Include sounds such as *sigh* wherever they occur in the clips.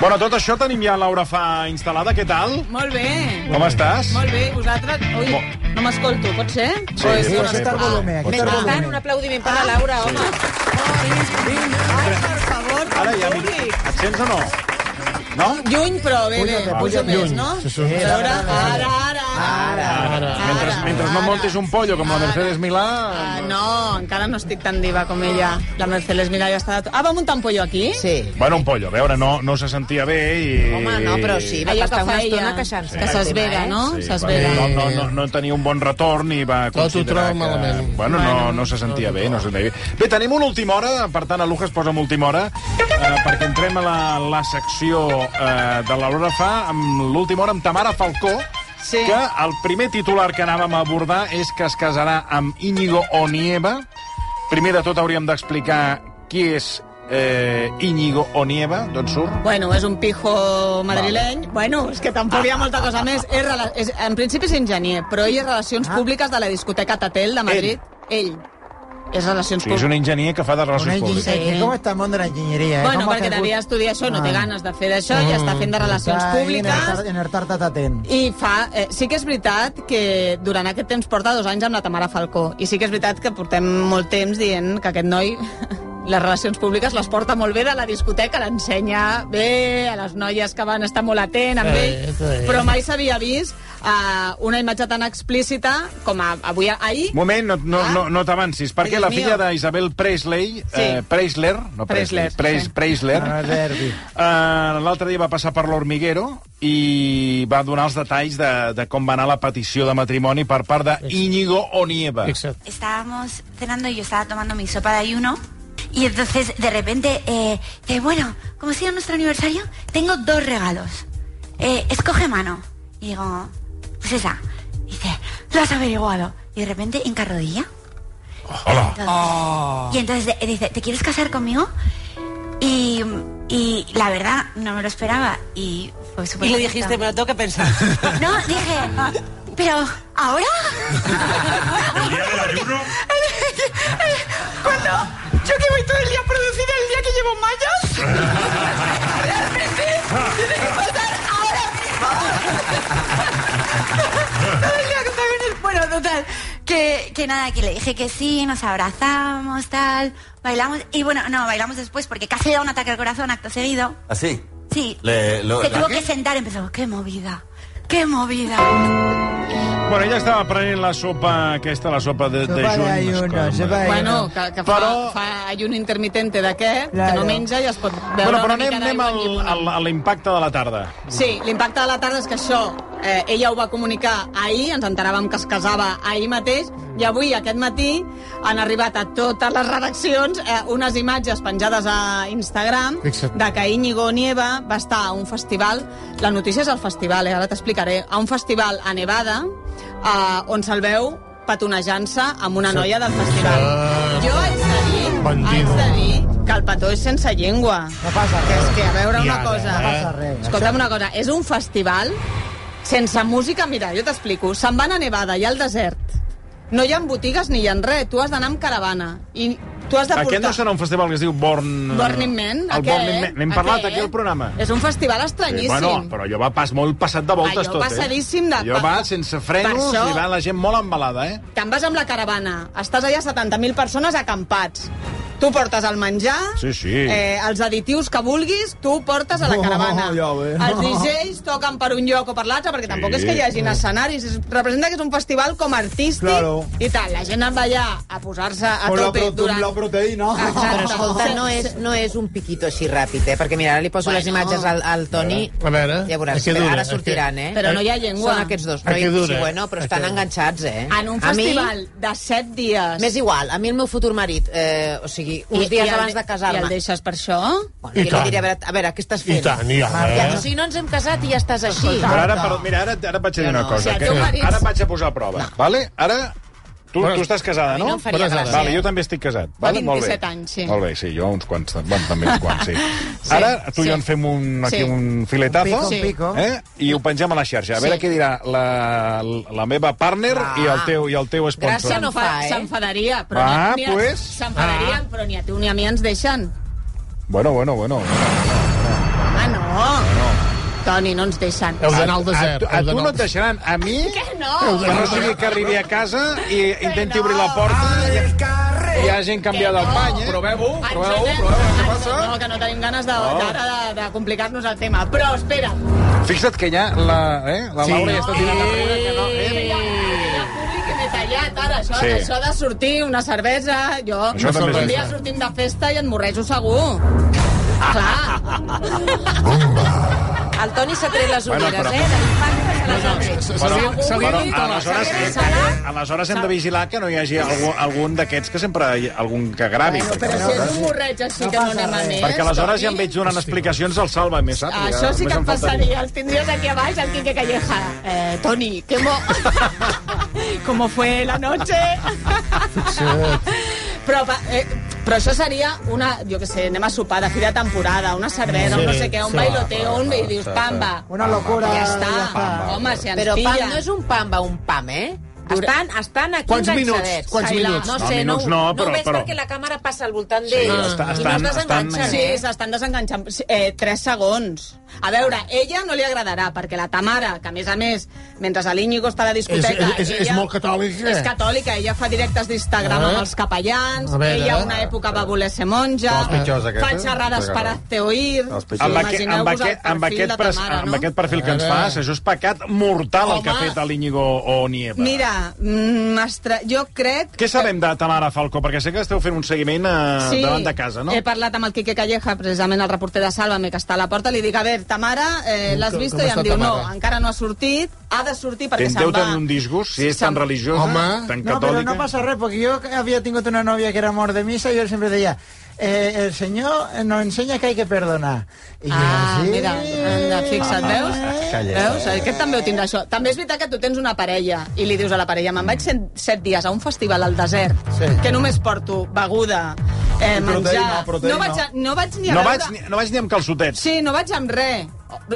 Bueno, tot això tenim ja Laura Fa instal·lada. Què tal? Molt bé. Com estàs? Molt bé, vosaltres... Ui, Mo- no m'escolto, pot ser? Sí, sí, bona sí, estona. pot ser, pot ser. Ah. Mentrestant, un aplaudiment per la Laura, home. Ai, per favor, Ara ja, mira, públic. et sents o no? No? Lluny, però bé, bé, puja més, no? A veure, ara, ara, ara. Ara, mentre, mentre no montis un pollo com la Mercedes Milà... Ah, no, encara no estic tan diva com ella. La Mercedes, mira, ja està... Ah, va muntar un pollo aquí? Sí. Bueno, un pollo, a veure, no, no se sentia bé i... Home, no, però sí, va Allò que passar fa una ella, estona queixant-se. que s'esvera, no? Sí, S'esvera. va bé. no, no, no, no tenia un bon retorn i va ho considerar troba que... malament. Bueno, no, no se sentia bé, no se sentia bé. Bé, tenim una última hora, per tant, a Luja es posa amb última hora, eh, perquè entrem a la, la secció eh, de l'Aurora Fa amb l'última hora amb Tamara Falcó, Sí. que el primer titular que anàvem a abordar és que es casarà amb Íñigo Onieva. Primer de tot hauríem d'explicar qui és eh, Íñigo Onieva, d'on surt. Bueno, és un pijo madrileny. Bueno, és que tampoc hi ha molta cosa més. És, rela- és, en principi és enginyer, però ell és Relacions Públiques de la discoteca Tatel de Madrid. Ell. És Relacions Sí, és un Públiques. enginyer que fa de Una relacions públiques. enginyería. Sí. ¿Cómo está el mundo de la ingeniería? eh? Bueno, ¿Cómo ha perquè caigut? devia estudiar això, no té Ah. ganes de fer d'això, i està fent de Relacions Está ahí En el, Públiques. tar- en el tartatatén. I fa... Eh, sí que és veritat que durant aquest temps porta dos anys amb la Tamara Falcó. I sí que és veritat que portem molt temps dient que aquest noi *laughs* les relacions públiques les porta molt bé de la discoteca, l'ensenya bé a les noies que van estar molt atent amb Sí, ell, sí. però mai s'havia vist eh, una imatge tan explícita com a, avui, ahir, Moment, no, no, Ah. no, no t'avancis, Ai, perquè Dios la filla mío. d'Isabel Presley, eh, Preisler, no Presley, Preisler, Preis, sí. Preisler, Ah, derbi. eh, l'altre dia va passar per l'Hormiguero i va donar els detalls de, de com va anar la petició de matrimoni per part de Íñigo Onieva. Exacto. estábamos cenando y yo estaba tomando mi sopa de ayuno. Y entonces de repente, eh, dice, bueno, como sea nuestro aniversario, tengo dos regalos. Eh, escoge mano. Y digo, pues esa. Y dice, lo has averiguado. Y de repente encarrodilla. Hola. Entonces- Ah. Y entonces eh, dice, ¿te quieres casar conmigo? Y, y la verdad, no me lo esperaba. Y fue súper Y le bonito. dijiste, me lo tengo que pensar. *laughs* No, dije, pero ¿ahora? El día del *laughs* ayuno, Cuando yo que voy todo el día producida, el día que llevo mallas. *laughs* *laughs* Realmente tiene que pasar ahora mismo. Todo el día que estaba en el- Bueno, total, que, que nada, que le dije que sí, nos abrazamos, tal, bailamos, y bueno, no, bailamos después porque casi le da un ataque al corazón acto seguido. ¿Así? Sí, Le- lo- se ¿la tuvo qué? que sentar, empezó, qué movida, qué movida. Bueno, ella estava prenent la sopa aquesta, la sopa de, de Sopa juny. d'ayuno, sopa d'ayuno. bueno, que, que fa, Però- fa ayun intermitente d'aquest, que Claro. no menja i es pot veure Bueno, però una anem, mica anem d'aigua al, en llimonar. al, a l'impacte de la tarda. Sí, l'impacte de la tarda és que això eh, ella ho va comunicar ahir, ens enteràvem que es casava ahir mateix, i avui, aquest matí, han arribat a totes les redaccions eh, unes imatges penjades a Instagram Exacte. de que Íñigo Nieva va estar a un festival, la notícia és el festival, eh, ara t'explicaré, a un festival a Nevada, eh, on se'l veu petonejant-se amb una noia del festival. Ah. Jo haig de dir, Bandido. haig de dir que el petó és sense llengua. No pasa *laughs* Que és res. que, a veure una Ja, cosa... eh? No passa res. Escolta'm una cosa, és un festival sense música... Mira, jo t'explico. Se'n van a Nevada, i al desert. No hi ha botigues ni hi ha res. Tu has d'anar amb caravana. I tu has de portar... Aquest no serà un festival que es diu Born... Burning Man, eh? El aquest, Burning Man. N'hem parlat aquest. aquí al programa. És un festival Sí, estranyíssim. Eh, bueno, però allò va pas molt passat de voltes Allò tot, eh? passadíssim de- Allò va sense frenos Per això- i va la gent molt embalada, eh? Te'n vas amb la caravana, estàs allà 70.000 persones acampats. Tu portes el menjar, Sí, sí. Eh, els additius que vulguis, tu portes a la Oh, caravana. ja ho ve. els DJs toquen per un lloc o per l'altre, perquè tampoc és que hi hagin escenaris. Es- Representa que és un festival com artístic Ah. Claro. i tal. La gent va allà a posar-se a Con la tope prote- durant... la proteïna. Exacte. Però, Escolta, no és, no és un piquito així ràpid, eh? Perquè mira, ara li poso Bueno. les imatges al, al Toni. A veure, ja a veuràs, què dura, ara a sortiran, què? eh? Però no hi ha llengua. Són aquests dos. A què dura? Sí, bueno, però estan A què? enganxats, eh? En un A mi- festival de 7 dies... M'és igual, a mi el meu futur marit, eh, o sigui, uns I- dies i el- abans de I el casar-me... deixes per això? Bueno, I jo li tant. diré, a veure, a veure, què estàs I fent? tant, i Ah, ara, Ja, o eh? sigui, no ens hem casat i ja estàs així. Però ara, però, mira, ara, ara et vaig a dir Jo una no. cosa. O sigui, que, tu m'ha dit- ara et vaig a posar a prova, vale? Ara... Tu, Bueno, tu estàs casada, mi no? no em faria Estàs casada. gràcia. Vale, jo també estic casat. Vale? Molt bé. 27 anys, sí. Molt bé, sí, jo uns quants. Bueno, també uns quants, sí. Sí, Ara tu i sí. jo en fem un, aquí Sí. un filetazo Un pico, un pico. eh? i ho pengem a la xarxa. A veure Sí. què dirà la, la meva partner i el teu, i el teu sponsor. Gràcia no fa, eh? Ah. S'enfadaria, però... Va, ni, ni a- pues. S'enfadarien, però ni a tu ni a mi ens deixen. Bueno, bueno, bueno. Ah, no! Toni, no ens deixen. Heu d'anar al desert. A, a, a heu tu d'anar no al et deixaran. A mi, Que no? que no sigui que arribi a casa i intenti no. obrir la porta i hi hagi canviat el Que no. bany, eh? Proveu-ho, Ens proveu-ho, donen- proveu-ho, què ens- passa? No, que no tenim ganes de, d'ara de, de complicar-nos el tema. Però, espera, Fixa't que ja la, eh, la Sí. Laura ja està tirant enrere. Que no, Eh, Que hi ha- que hi ha públic que m'he tallat, ara. Això, Sí. això de sortir una cervesa, jo... Això també és un dia veritat. sortim de festa i et morrejo segur. Clar. El Toni s'ha tret les Bueno, ulleres, però- eh? De l'infància se les ha tret. desert. Se li- Bueno, se li però ha dit a la- aleshores, eh, aleshores hem de vigilar que no hi hagi algú, algun d'aquests que sempre hi, algun que gravi. Bueno, però si és un morreig així No que no passa anem a res. més... Perquè aleshores ja em Toni, veig donant explicacions al Salva, més, saps? Ah, Això sí Només que em em faltaria. passaria. Els tindries aquí a baix, el Quique Calleja. Eh, Toni, *laughs* ¿qué mo... ¿Cómo fue la noche? però, pa- eh, però això seria una, jo que sé, anem a sopar de fi de temporada, una cervesa, Sí, un no sé què, un sí. bailoteo, un... I dius, pamba. Una locura. Ja està. pam. Home, si ens Però pam, pillen. no és un pam, va, un pam, eh? Estan, estan aquí Quants enganxadets. minuts? Quants Ai, la- minuts? No No, sé, no, minuts no, però- no ho veig però- perquè la càmera passa al voltant Sí, d'ell està- i no estan- es desenganxen. estan- Sí, Eh? s'estan desenganxant. Sí, Eh, 3 segons. A Ah. veure, ella no li agradarà, perquè la Tamara, que a més a més, mentre a l'Iñigo està a la discoteca... És- és- és- és molt eh? catòlica. És catòlica, ella fa directes d'Instagram Ah. Eh? amb els capellans, A veure. ella una època va voler ser monja, eh? Són els pitjors, aquests, fa eh? xerrades per a Ceoir... Els pitjors. Amb, aqu Imagineu-vos amb, el aquest, amb, perfil aquest, de pres, Tamara, amb no? aquest perfil que ens A fas, veure. això és pecat mortal el que ha Home. fet a l'Iñigo o Nieva. Mira, eh, mm, m'estra- jo crec... Què sabem de Tamara Falco? Perquè sé que esteu fent un seguiment eh, davant de casa, no? He parlat amb el Quique Calleja, precisament el reporter de Sálvame, que està a la porta, li dic, a veure, Tamara, eh, l'has Com- vist? com I em està diu, no, Tamara?" encara no ha sortit, ha de sortir perquè Te'n se'n deu va. tenir un disgust, si és Se'n- tan religiosa, Home. tan No, pero catòlica... no pasa res, porque yo había tenido una novia que era amor de misa y yo siempre decía, eh, el Señor nos enseña que hay que perdonar. Y yo, Ah, "Sí". Ah, mira, anda, fixa't, veus? Veus? Eh, Aquest també ho tindrà, això. També és veritat que tu tens una parella i li dius a la parella, me'n vaig set, set dies a un festival al desert, Sí. que només porto beguda, eh, proteïna, menjar... proteïna. No, vaig a, no vaig ni a No veure... vaig, ni, no vaig ni amb calçotets. Sí, no vaig amb res.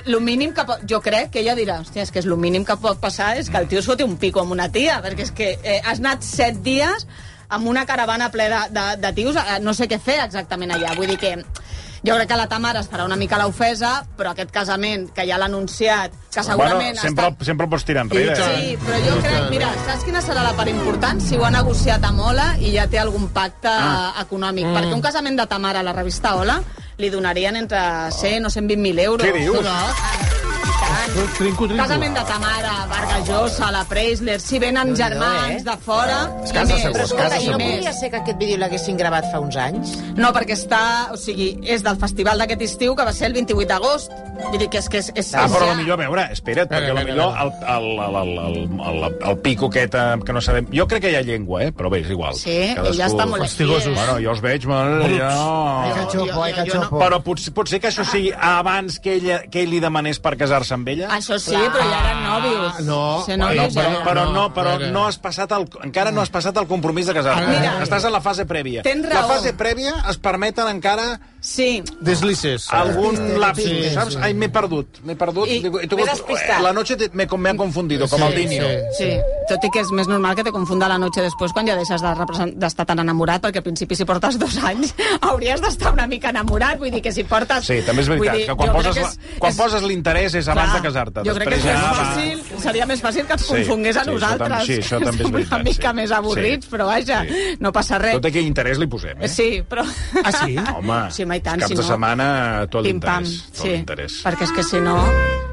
Lo mínim que... po- Jo crec que ella dirà, hòstia, és que és lo mínim que pot passar és que el tio es foti un pico amb una tia, perquè és que eh, has anat set dies amb una caravana ple de, de, de tios, eh, no sé què fer exactament allà. Vull dir que jo crec que la Tamara estarà una mica a l'ofesa, però aquest casament que ja l'ha anunciat, que segurament... bueno, sempre, està... sempre pots tirar enrere. I tant. Sí, però jo crec, mira, saps quina serà la part important? Si ho ha negociat amb Ola i ja té algun pacte Ah. eh, econòmic. Perquè un casament de Tamara a la revista Ola li donarien entre 100 o 120.000 euros. ah, Què dius? Trinco, trinco. Casament de Tamara, Varga Llosa, la Preisler, si venen germans eh? de fora... És i casa més. seva, Però és escolta, casa i no segur. podria ser que aquest vídeo l'haguessin gravat fa uns anys? No, perquè està... O sigui, és del festival d'aquest estiu, que va ser el 28 d'agost. Vull dir que és que és... és Ah, és però ja. a millor, a veure, espera't, Espera, perquè a espera, millor el, el, el, el, el, el, el pico aquest eh, que no sabem... Jo crec que hi ha llengua, eh? però bé, és igual. Sí, ella està molt... Fastigosos. Bueno, jo els veig, bueno, Ay, jo... cachopo, ay, cachopo. Però potser, potser que això sigui abans que ell, que ell li demanés per casar-se amb ella? Això sí, però ja eren nòvios. no. Ser Ah, No, nòvios ja però, era. però no, no, però mira. no has passat el, encara no has passat el compromís de casar-te. Mira. Estàs en la fase prèvia. Tens La raó. fase prèvia es permeten encara Sí, Deslices. algun lapsus, sí, sí. saps? Ai, m'he perdut, m'he perdut. I Digo, he m'he despistat. la noche te- me, me ha confundido, com Sí, el Dinio. sí. Sí, tot i que és més normal que te confunda la noche després quan ja deixes de represent- d'estar tan enamorat, perquè al principi si portes dos anys *laughs* hauries d'estar una mica enamorat, vull dir que si portes... Sí, també és veritat, vull dir, que quan jo poses, crec la- quan poses l'interès és abans clar, de casar-te. Jo crec que és Després més ja va. fàcil, seria més fàcil que ens Sí, confongués a sí, això nosaltres. tam- sí, això també és Som veritat, *laughs* Una mica sí. més avorrits, Sí. però vaja, Sí. no passa res. Tot aquell interès li posem, eh? Sí, però... Ah, *laughs* sí? Home, Sí, home, i tant, caps si de no- setmana, tot Pim-pam, l'interès. Tot sí. l'interès. Perquè és que si no,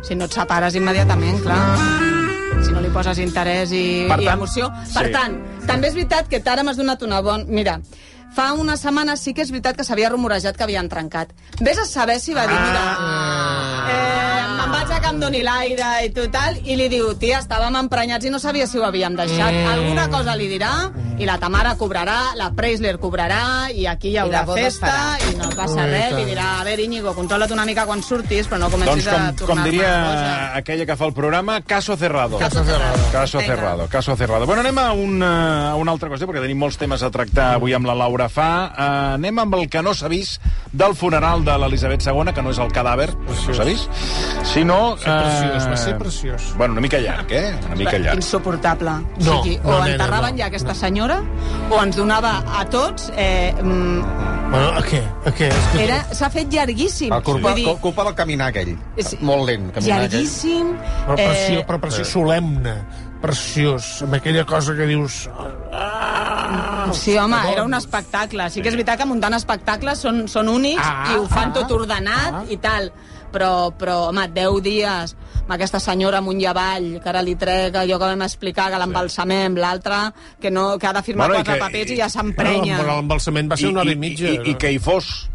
si no et separes immediatament, clar. Si no li poses interès i, Per i tant, emoció. Per sí. tant, també és veritat que ara m'has donat una bona... Mira, fa una setmana sí que és veritat que s'havia rumorejat que havien trencat. Vés a saber si va Ah. dir, mira... Eh, me'n vaig a que em doni l'aire i tot tal, i li diu, tia, estàvem emprenyats i no sabia si ho havíem deixat. Mm. Alguna cosa li dirà, i la Tamara cobrarà, la Preisler cobrarà, i aquí hi haurà la boda es festa, farà. i no passa Ui, res, tant. i dirà, a veure, Íñigo, controla't una mica quan surtis, però no Doncs comencis com, a tornar com diria a aquella que fa el programa, caso cerrado. Caso cerrado. Caso Vinga. cerrado, caso cerrado. Bueno, anem a una, a una altra cosa, perquè tenim molts temes a tractar avui amb la Laura Fa. Uh, anem amb el que no s'ha vist del funeral de l'Elisabet II, que no és el cadàver, no s'ha vist, sinó... ser preciós, eh, va ser preciós. Bueno, una mica llarg, eh? Una mica llarg. Insuportable. No, o sigui, no, o nena, enterraven no, ja aquesta senyora, o ens donava a tots eh, mm, Bueno, a què? A què? Escolta, Era- S'ha fet llarguíssim. El culpa, Vull dir, culpa del caminar aquell. Sí. Molt lent, caminar aquell. llarguíssim. eh, Però pressió, però pressió solemne, preciós, amb aquella cosa que dius... "Ah!" Sí, home, era un espectacle. Sí que és veritat que muntant espectacles són, són únics Ah, i ho fan ah, tot ordenat i tal. Però, però home, 10 dies amb aquesta senyora amunt i avall, que ara li trec allò que vam explicar, que l'embalsamem, l'altre, que, no, que ha de firmar Bueno, i quatre que- papers i ja Bueno, s'emprenya. amb l'embalsament va ser una hora i mitja. I, i, i que hi fos.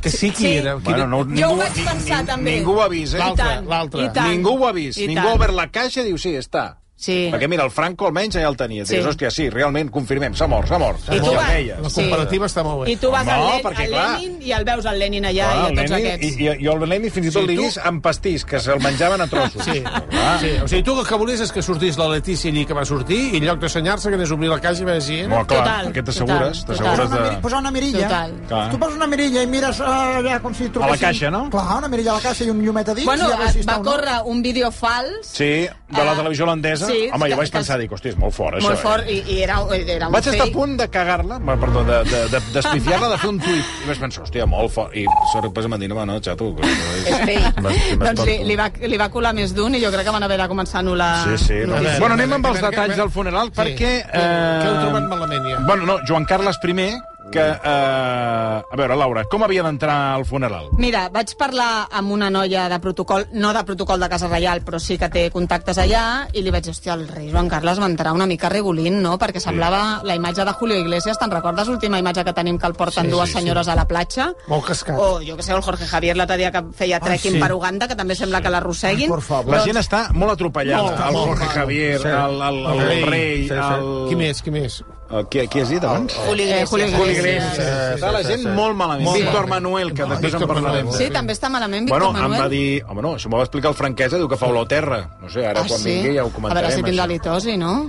que sí que Sí. era. que Bueno, era- no, Jo ho vaig pensar, també. Ningú ho avisa, I eh? L'altre, tant, l'altre. i tant. Ningú ho ha vist. I Ningú tant. ha obert la caixa i diu, sí, està. Sí. Perquè mira, el Franco almenys ja el tenia. Sí. Dius, hòstia, sí, realment, confirmem, s'ha mort, s'ha mort. I tu ja vas- deies. La Sí. comparativa està molt bé. I tu vas Home, al, Len, perquè, al clar. Lenin i el veus al Lenin allà Clar, i a el tots Lenin, aquests. I, i, I el Lenin fins i tot sí, Sí, li tu- dis amb pastís, que se'l menjaven a trossos. Sí. Ah, Clar. sí. O sigui, tu el que volies és que sortís la Letícia allí que va sortir i en lloc d'assenyar-se que anés a obrir la caixa i va dir... Bueno, clar, Total, perquè t'assegures, total, t'assegures Posar una, miri- de... posar una mirilla. Total. Clar. Tu poses una mirilla i mires eh, allà com si truquessin... A la caixa, no? Clar, una mirilla a la caixa i un llumet a dins. Bueno, ah, i a veure si va està o no. córrer un vídeo fals. Sí, de la Ah, televisió holandesa. sí, Home, que- jo vaig que- pensar, dic, hòstia, és molt fort, això. Molt fort, Eh? i, i era, era un Vaig estar a fake. punt de cagar-la, va, perdó, de- de- de- d'espifiar-la, de, fer un tuit. I vaig pensar, hòstia, molt fort. I sort després em van dir, no, no, xato. *laughs* que no és- És fake. m'has- m'has Doncs li, perdut. li, va, li va colar més d'un i jo crec que van haver de començar a anul·lar... Ah, Sí, sí. anul·lar. Doncs... veure, Bueno, a anem veure, amb a els veure, detalls a veure. del funeral, Sí. perquè... eh, Què heu trobat malament, ja? Bueno, no, Joan Carles I, que... Eh, a veure, Laura, com havia d'entrar al funeral? Mira, vaig parlar amb una noia de protocol, no de protocol de Casa Reial, però sí que té contactes allà, i li vaig dir, hòstia, el rei Joan Carles va entrar una mica rigolint, no?, perquè semblava la imatge de Julio Iglesias, te'n recordes l'última imatge que tenim que el porten sí, dues sí, senyores sí. a la platja? Molt cascat. O, jo que sé, el Jorge Javier l'altre dia que feia trekking sí. sí. per Uganda, que també sembla que l'arrosseguin. Ai, por favor. La gent està molt atropellada. Doncs- Molt, el molt, Jorge molt. Javier, Sí. el, el, el, El el rei, rei... sí, sí. El... Qui més, Oh, qui més? El, qui, qui has dit abans? Julio Eh, Iglesias. Julio Julio Iglesias. Iglesias. Està la gent sí, sí. molt malament. Molt Víctor malament. Manuel, que després en Víctor parlarem. Manuel. Sí, també està malament, Víctor Bueno, em Manuel. va dir... Home, no, això m'ho va explicar el franquesa, diu que fa olor a terra. No sé, ara quan vingui ja ho Ah, A comentarem. veure si tindrà això. litosi, no?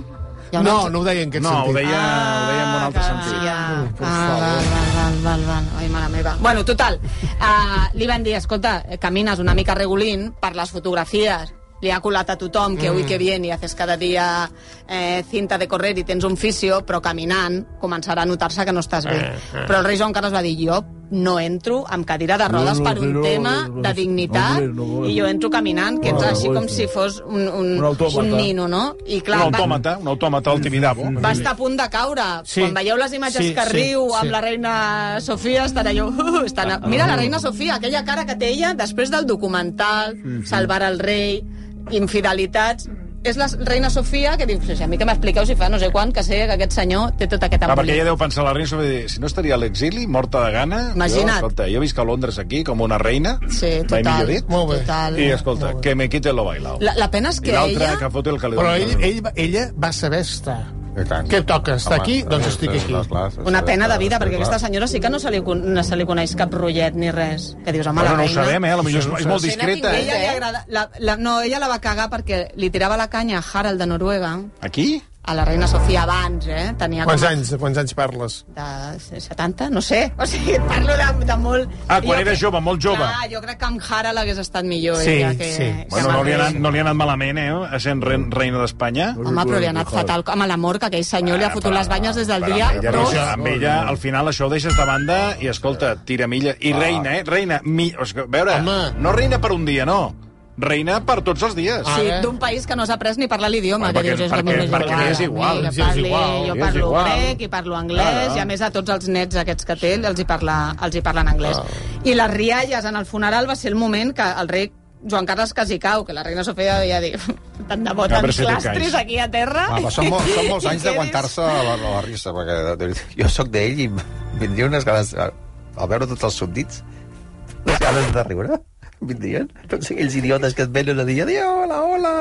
Hi ha una- No, no ho deia en aquest No, ho sentit. deia, ho deia en un altre que- sentit. Ah, Ja. Ah, val, val, val, val, val. Ai, mare meva. Bueno, total, uh, li van dir, escolta, eh, camines una mica regulint per les fotografies li ha colat a tothom que Mm. avui que bien i haces cada dia eh, cinta de correr i tens un fisio, però caminant començarà a notar-se que no estàs Eh, bé. Però el rei Joan Carles va dir, jo no entro amb cadira de rodes per un tema de dignitat i jo entro caminant, que ets així com si fos un, un, un nino, no? I Un clar, Mm. va- autòmata, un autòmata al Tibidabo. va estar a punt de caure. Sí. Sí. Quan veieu les imatges Sí, sí, que sí, riu sí. amb la reina Sofia, estan allò... Uh, estan Ah, a... Mira la reina Sofia, aquella cara que té ella després del documental, Mhm. salvar el rei, infidelitats... És la reina Sofia que diu, "Sí, a mi que m'expliqueu si fa no sé quan, que sé que aquest senyor té tot aquest Ah, perquè embolic. ella deu pensar la reina sobre dir, si no estaria a l'exili, morta de gana... Imagina't. Jo, escolta, jo visc a Londres aquí com una reina, Sí, mai total. millor dit, Molt bé. Total. i escolta, que me quite lo bailao. La, la pena és I que l'altra, ella... que fot el calidó. Però ell, ell, va- ella va saber estar. I tant. Què toca? Està Home, aquí? Doncs sí, estic sí, aquí. clar, clar, sí, Una sí, pena de clar, vida, sí, perquè clar. aquesta senyora sí que no se li, con- no se li coneix cap rotllet ni res. Que dius, home, la Bueno, no ho reina... sabem, eh? A lo millor és, és molt Sí, no discreta, tinc Ella eh? li agrada, la, la, no, ella la va cagar perquè li tirava la canya a Harald de Noruega, Aquí? a la reina Sofia abans, eh? Tenia Quants com a- anys, de quants anys parles? De 70, no sé. O sigui, *laughs* et parlo de, de molt... Ah, quan Jo era crec- jove, molt jove. Clar, jo crec que amb Harald hagués estat millor Sí, ella que... sí. que Bueno, no amb li, ha el rei. anat, no li ha anat malament, eh? A sent re, reina d'Espanya. Home, però li ha anat fatal amb l'amor que aquell senyor li ha fotut les banyes des del dia Amb ella, dos. això, amb ella, al final, això ho deixes de banda i, escolta, tira milla. I reina, eh? Reina. Mi... o sigui, A veure, Home. no reina per un dia, no. Reina per tots els dies. Ah, Sí, eh? d'un país que no has après ni parlar l'idioma. Bueno, que perquè- dius, és perquè- que m'és perquè li és igual, Mira, sí, és parli, igual, jo li és parlo igual. grec i parlo anglès, Claro. i a més a tots els nets aquests que té els hi, parla, els hi parlen Ah. anglès. I les rialles en el funeral va ser el moment que el rei Joan Carles quasi cau, que la reina Sofia ja dir *laughs* tant de A bota veure ens si té clastris cais. aquí a terra. Ah, però són, molt, són molts I quedes- anys d'aguantar-se a la, a la risa, perquè de, veritat, jo sóc d'ell i em vindria unes ganes... Al veure tots els subdits, les ganes de riure em vindrien. Tots aquells idiotes que et venen a dir adéu, hola, hola,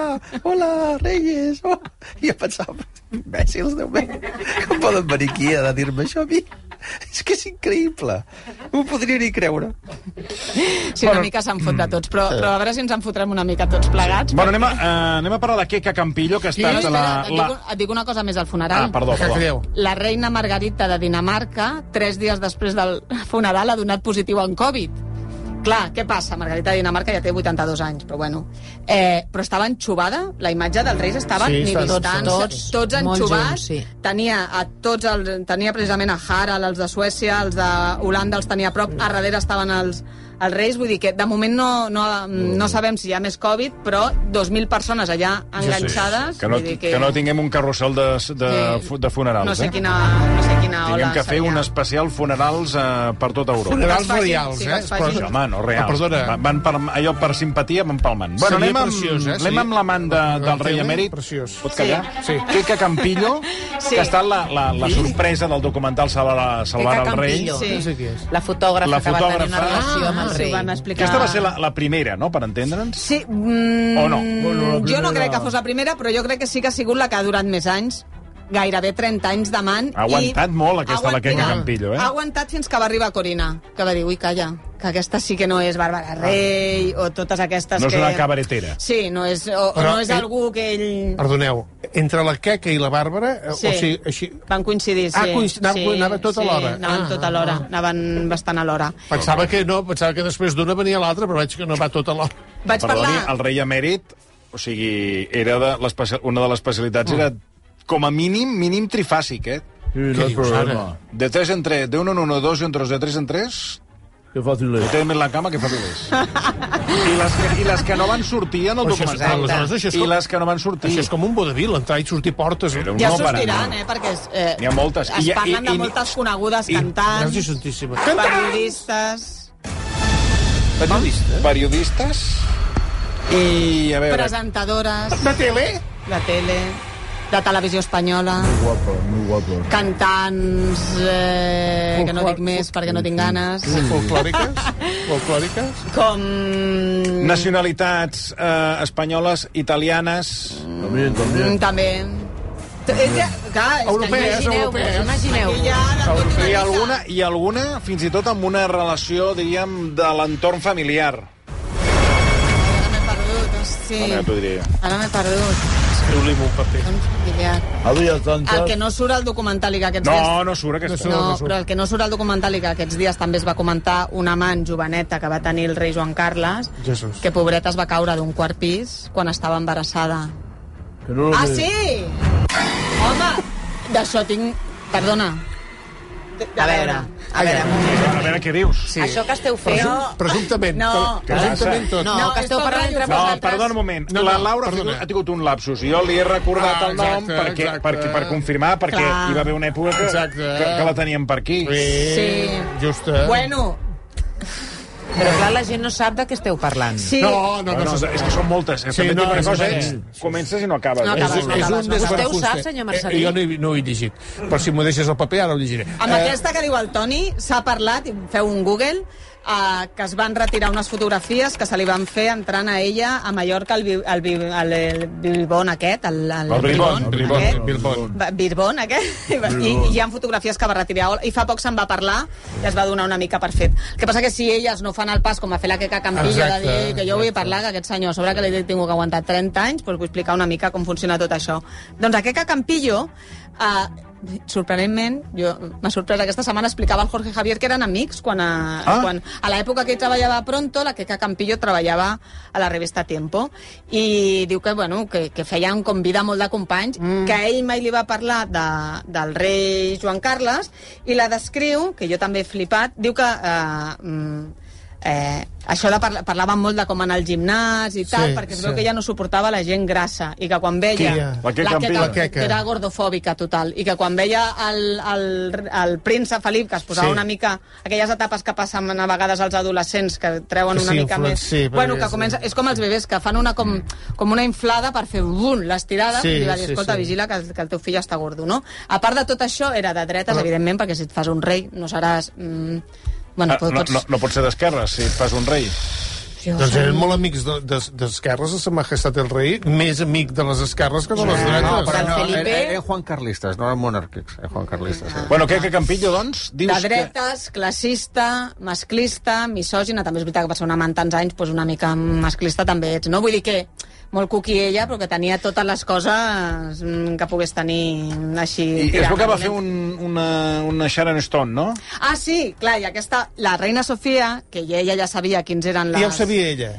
hola, Reyes. Oh. I jo pensava, imbècils, Déu meu, com poden venir aquí a dir-me això a mi? És que és increïble. No ho podria ni creure. *laughs* Sí, una mica se'n fot de tots, però, però a veure si ens en fotrem una mica tots plegats. mm. Bueno, anem a, eh, anem a parlar de Queca Campillo, que ha No, estat espera, la... et, la... dic, un- et dic una cosa més al funeral. Ah, perdó, Que perdó. creieu? La reina Margarita de Dinamarca, tres dies després del funeral, ha donat positiu en Covid. Clar, què passa? Margarita de Dinamarca ja té 82 anys, però bueno. Eh, però estava enxubada, la imatge dels Reis estava Sí, sí, ni estan- distants, tots, tots- tots molt junts, enxubats. sí. Tenia, a tots el, tenia precisament a Harald, els de Suècia, els de Holanda els tenia a prop, a darrere estaven els, els Reis, vull dir que de moment no, no, Mm. no sabem si hi ha més Covid, però 2.000 persones allà enganxades. Que no, vull dir que no tinguem un carrusel de, de, Sí. fu- de funerals, No sé eh? quina, no sé quina Tinguem ola que fer seria. un especial funerals eh, per tota Europa. Funerals que els facin, radials, sí, que eh? els facin. Sí, home, no, real. Ah, perdona. Va- Van per, allò per simpatia, van palmant. Bueno, Seria anem amb, preciós, eh? anem Seria- amb l'amant de, del rei emèrit. eh? Preciós. Pot callar? Sí. Queca Campillo, *laughs* Sí. que ha estat la, la, la sorpresa del documental Salvar, Salvar Queca el rei. Campillo. Sí. No sé qui és. La fotògrafa, La que va tenir fotògrafa. una relació amb el Ah, rei. sí, van explicar... Aquesta va ser la, la primera, no?, per entendre'ns. Sí, mm, O no? Bueno, la jo no primera- crec que fos la primera, però jo crec que sí que ha sigut la que ha durat més anys gairebé 30 anys d'amant. Ha aguantat i- molt aquesta, la aguantat- Queca Campillo, eh? Ha aguantat fins que va arribar Corina, que va dir, ui, calla, que aquesta sí que no és Bàrbara Rei, o totes aquestes Ah. No és que... una cabaretera. Sí, no és, o, Però no és ell- algú que ell... Perdoneu, entre la Queca i la Bàrbara, eh, Sí. o sigui, així... Van coincidir, sí. Ah, coinc- anava- anava tot sí, alhora. anaven Ah, tot a l'hora, ah. anaven bastant a l'hora. Pensava que no, pensava que després d'una venia l'altra, però veig que no va tota l'hora. Vaig Perdoni, parlar... el rei emèrit, o sigui, era de l'especia- una de les especialitats, era com a mínim, mínim trifàsic, eh? Sí, no Què hay dius, ara? problema. De 3 en 3, de 1 en 1, 2 en 2, de 3 en 3... Qué fácil es. Té més la cama que fa filers. I les que, I les que no van sortir en el Però això és- documental. aleshores això és I com- les que no van sortir. Això és com un vodevil, entrar i sortir portes. Era un Ja no sortiran, parar. eh, perquè es, eh, N'hi ha moltes. es I- parlen i- de i- moltes conegudes, i- Gràcies, cantants, Santíssima. periodistes... eh? Periodistes. Periodistes. I, a veure... presentadores De tele? de tele, de televisió espanyola, Guapo, muy guapo. cantants, eh, que no dic més perquè no tinc ganes, *laughs* Folclòriques? Folclòriques? com... Nacionalitats eh, espanyoles, italianes... También, también. mm, també... És Eh, ja, clar, és Europees, que europees. Imagineu-vos. ja, I alguna, I alguna, fins i tot, amb una relació, diríem, de l'entorn familiar. Ara m'he perdut, doncs, sí. Ara t'ho diré. Ara m'he perdut. Escriu-li un paper. Són familiar. Había El tantas. que no surt al documental i que aquests dies... No, no surt aquesta. No, però el que no surt al documental i que aquests dies també es va comentar una amant joveneta que va tenir el rei Joan Carles, Jesús. que pobreta es va caure d'un quart pis quan estava embarassada. Que no lo Ah, ve. sí? Home, d'això tinc... Perdona. A veure, a veure, un moment. A veure què dius. Sí. Això que esteu fent... Presumptament. No. pre- Presumptament tot. No, No, que és esteu com parlant ràdio. entre No, vosaltres. perdona un moment. No, no, la Laura ha perdona. tingut- ha tingut un lapsus. Jo li he recordat Ah, el nom exacte, perquè, exacte. perquè, per confirmar, perquè Clar. hi va haver una època que, Exacte. que, que la teníem per aquí. Sí. Justa. Bueno, Però clar, la gent no sap de què esteu parlant. sí... No, no, No, no. no, no és que són moltes. eh? És, Sí, sí, no, no, una és cosa, veritat. és, comences i no acabes. No eh? acabes, És- no és- acabes. Vostè ho desbarajuste. sap, senyor Marcelí? Eh, jo no, he- no ho he llegit, però si m'ho deixes al paper ara ho llegiré. Eh, Amb aquesta que diu el Toni, s'ha parlat, i feu un Google, eh, que es van retirar unes fotografies que se li van fer entrant a ella a Mallorca, al Bi- al Bi- al- el Bilbon aquest, el, el, El Bilbon, Bilbon, el Bilbon, aquest. el Bilbon. Va- Bilbon aquest, *laughs* I, va- i, i hi ha fotografies que va retirar, i fa poc se'n va parlar i es va donar una mica per fet. El que passa que si elles no fan el pas com a fer la queca campilla de Exacte, dir "Ei, que jo vull parlar que aquest senyor, a sobre que l'he tingut que aguantar 30 anys, doncs vull explicar una mica com funciona tot això. Doncs aquest que Campillo, eh, sorprenentment, jo m'ha sorprès aquesta setmana, explicava el Jorge Javier que eren amics quan a, ah. quan a l'època que ell treballava a Pronto, la Queca Campillo treballava a la revista Tiempo i diu que, bueno, que, que feien com vida molt de companys, mm. que ell mai li va parlar de, del rei Joan Carles i la descriu, que jo també he flipat, diu que... Eh, mm, Eh, això de parla, parlaven molt de com anar al gimnàs i tal, Sí, perquè es sí. veu que ella no suportava la gent grassa i que quan veia... Qui? La Queca Queca- Campillo. La Queca. Era gordofòbica total, i que quan veia el, el, el príncep Felip, que es posava Sí. una mica... Aquelles etapes que passen a vegades als adolescents, que treuen Que una sí, mica influen- més... sí, perquè bueno, que sí. comença... És com els bebès, que fan una com, com una inflada per fer bum, l'estirada, i Sí, li va dir, sí, escolta, sí. vigila que el, que el teu fill ja està gordo, no? A part de tot això, era de dretes, evidentment, perquè si et fas un rei no seràs... Mm, bueno, Ah, no, no, no pot ser d'esquerres, si et fas un rei. Doncs eren molt amics de- de- d'esquerres, de, Sa Majestat el Rei, més amic de les esquerres que de les dretes. No, però San no, Felipe. eh, eren, eren Juan Carlistes, no eren monàrquics. Eren Juan Carlistes. Eh? Bueno, què, que Campillo, doncs, dius de dretes, classista, masclista, misògina, també és veritat que per ser una amant tants anys, doncs una mica masclista també ets, no? Vull dir que molt cuqui ella, però que tenia totes les coses mm, que pogués tenir així... I es tirant veu que va cap fer avall. un, una, una Sharon Stone, no? Ah, sí, clar, i aquesta, la reina Sofia, que ja- ella ja sabia quins eren les... Ja ho sabia ella.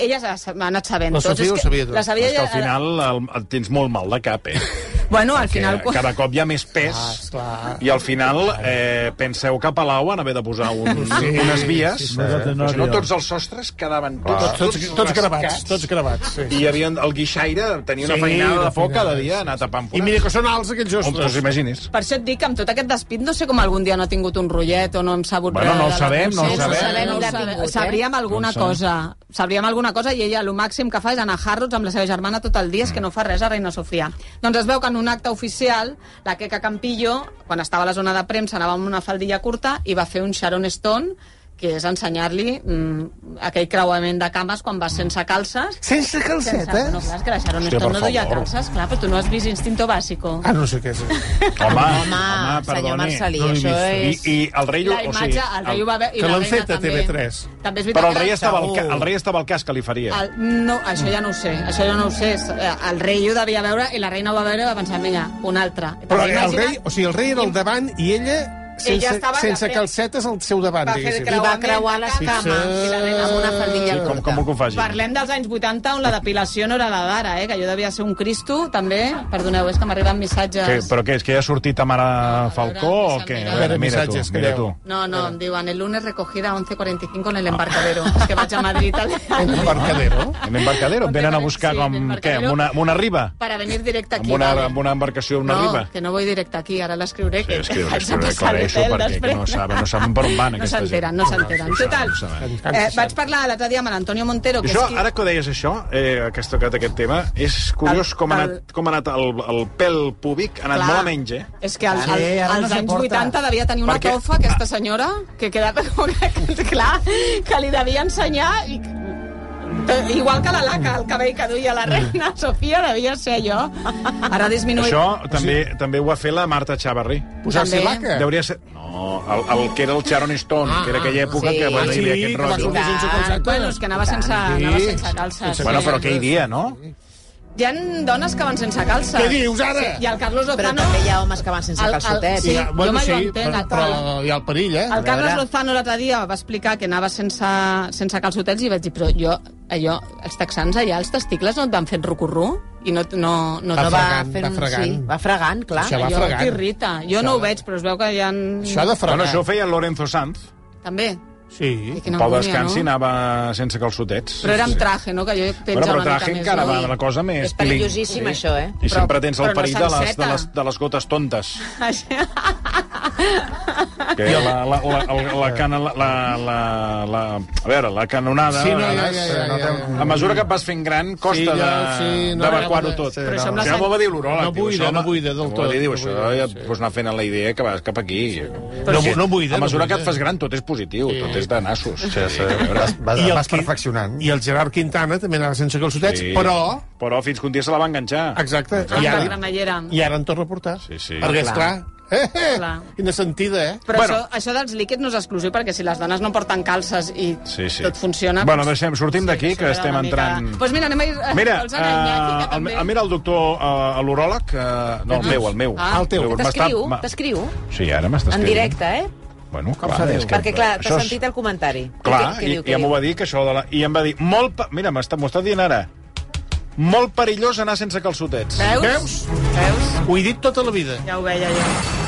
Ella ja s'ha anat sabent. La tots, Sofia és ho que- sabia tot. La sabia És que ella... al final el, et tens molt mal de cap, eh? *laughs* Bueno, al final... Que cada cop hi ha més pes ah, i al final eh, penseu que a Palau van haver de posar un, Sí, unes vies sí, eh? sí. Una si no catenòria. tots els sostres quedaven tots, Tots, tots, tots gravats, rascats. tots gravats. Sí. i hi havia el guixaire tenia una Sí, feinada de una foc cada feinada, dia sí, anar tapant I mira que són alts aquells On ostres. t'ho imaginis? Per això et dic que amb tot aquest despit no sé com algun dia no ha tingut un rotllet o no hem sabut Bueno, res de no ho la sabem, no ho Conxeta. sabem. No ho ho sabem. sabem. Sabríem alguna No ho cosa. Sabríem alguna cosa i ella el màxim que fa és anar a Harrods amb la seva germana tot el dia, és que no fa res a Reina Sofia. Doncs es veu que en un acte oficial, la Queca Campillo, quan estava a la zona de premsa, anava amb una faldilla curta i va fer un Sharon Stone que és ensenyar-li mm, aquell creuament de cames quan vas sense calces. Sense calcetes? Sense, eh? bueno, clar, és que la Sharon Hòstia, Stone per no duia favor. calces, clar, però tu no has vist Instinto Básico. Ah, no sé què és. Home, Home, home, senyor perdoni. Marcelí, l'he això vist. és- I, I el rei... La imatge, el rei ho va veure i la reina també. També és veritat Però el que rei, era estava al, segur. ca- el rei estava al cas que li faria. El, no, això ja no ho sé, això ja no ho sé. És, eh, El rei ho devia veure i la reina ho va veure i va pensar, vinga, un altre. Però T'imagines? el rei, o sigui, el rei era al davant i ella sense, Ella estava sense de- calcetes al seu davant, Va fer diguéssim. creuar- Va creuar les Sí, cames sí. i la nena amb una faldilla Sí, al com- curta. Com ho faci? Parlem dels anys 80 on la depilació no era la d'ara, eh? que jo devia ser un cristo, també. Perdoneu, és que m'arriben missatges. Que, però què, és que ja ha sortit Tamara Falcó o què? A veure, missatges, mira creieu. tu. No, no, em diuen, el lunes recogida a 11.45 en el embarcadero. *laughs* És que vaig a Madrid *laughs* al... En embarcadero. En embarcadero, et venen a buscar com, què, amb una, amb una riba? Para venir directe aquí. Amb una, vale. amb una embarcació, una no, riba? que no vull directe aquí, ara l'escriuré. Sí, és que *laughs* vaig a després passar a aclareixo l'hotel perquè que després. no saben, no saben per on van *laughs* No aquesta gent. s'enteren, no s'enteren. Total, eh, vaig parlar l'altre dia amb l'Antonio Montero, que Això, és qui... ara que ho deies això, eh, que has tocat aquest tema, és curiós El- com ha el- anat, com ha anat el, el pèl públic, ha anat Clar. molt a menys, eh? És que als, Sí, als, ara no als anys s'aporta. 80 devia tenir una Perquè- tofa, aquesta senyora, que quedava *laughs* com que, que, clar, que li devia ensenyar i... que- Igual que la laca, el cabell que duia la reina Sofia, devia ser allò. Ara ha disminuït. Mm. Això també, també ho va fer la Marta Chavarri. Posar-s'hi També. laca. Deuria ser... No, el, el que era el Sharon Stone, que era aquella època sí. que va Ah, dir sí, aquest que va rotllo. sortir sense Ah, calcetes. Ah, Bueno, és que anava sense, anava sense calces. Bueno, sí. però què hi dia, no? Hi ha dones que van sense calces. Què dius, ara? Sí, I el Carlos Però Lozano... també hi ha homes que van sense El- el- calçotets. sí. I, bueno, jo mai sí, ho entenc, però, el- però hi ha el perill, eh? El Carles veure. Lozano l'altre dia va explicar que anava sense, sense calçotets i vaig dir, però jo, allò, els texans allà, els testicles no et van fent rucurrú? I no, no, no Va No no va, fregant, fent, va fregant. Sí, va fregant, clar. Això va allò fregant. t'irrita. Jo Això no ho va- veig, però es veu que hi ha... Això ha de fregar. Bueno, això ho feia el Lorenzo Sanz. També. Sí. I quina No, Pau angúnia, Descansi anava sense calçotets. Però era amb traje, no? Que jo penja Bueno, però una traje mica més. encara no? va la cosa més... És perillosíssim, bling. això, eh? I Però- sempre tens el però no perill de les, de, s'enceta. les, de les gotes *laughs* tontes. *laughs* Això- Que la, la, la, la, la, cana, la, la, la, la, a veure, la canonada... Sí, no, ja, a vegades, ja, ja, no ja, té- ja, ja. A mesura que et vas fent gran, costa Sí, de- ja, sí, no, d'evacuar-ho no, tot. sí, Però no. això amb la Ja sang- m'ho va dir l'uròleg. No diu, buida, això, no home, buida del m'ho va tot, dir, Diu, no això buida, ja sí. et pots anar fent a la idea que vas cap aquí. No, no buida, A no mesura que buida. et fas gran, tot és positiu, tot és de nassos. Sí, sí. Vas, vas, I el vas qui- perfeccionant. I el Gerard Quintana també anava sense calçotets, Sí. però... Però fins que un dia se la va enganxar. Exacte. Amb I la ara, granallera. i ara en torna a portar. Sí, sí. Perquè, esclar... Eh, eh, Clar. quina sentida, eh? Però Bueno. bueno. això, això dels líquids no és exclusiu, perquè si les dones no porten calces i Sí, sí. tot funciona... Bueno, deixem, sortim d'aquí, que s'ha de estem una mica- entrant- Doncs mira, anem a ir... *laughs* Mira, vols anar a Iñaki, que eh, el, també- el, mira el doctor, eh, l'uròleg, eh, no, el meu, el meu. Ah, el teu. M'està- T'escriu, m'ha- t'escriu. Sí, ara m'estàs En escrivint. directe, eh? Bueno, clar, sabeu? és que- Perquè, clar, això t'has és- sentit el comentari. Clar, Què- què i, diu, què i em ho diu? va dir, que això de la... I em va dir, molt... pe- Mira, m'està m'ho està dient ara. Molt perillós anar sense calçotets. Eh? Veus? Veus? Veus? Ho he dit tota la vida. Ja ho veia jo.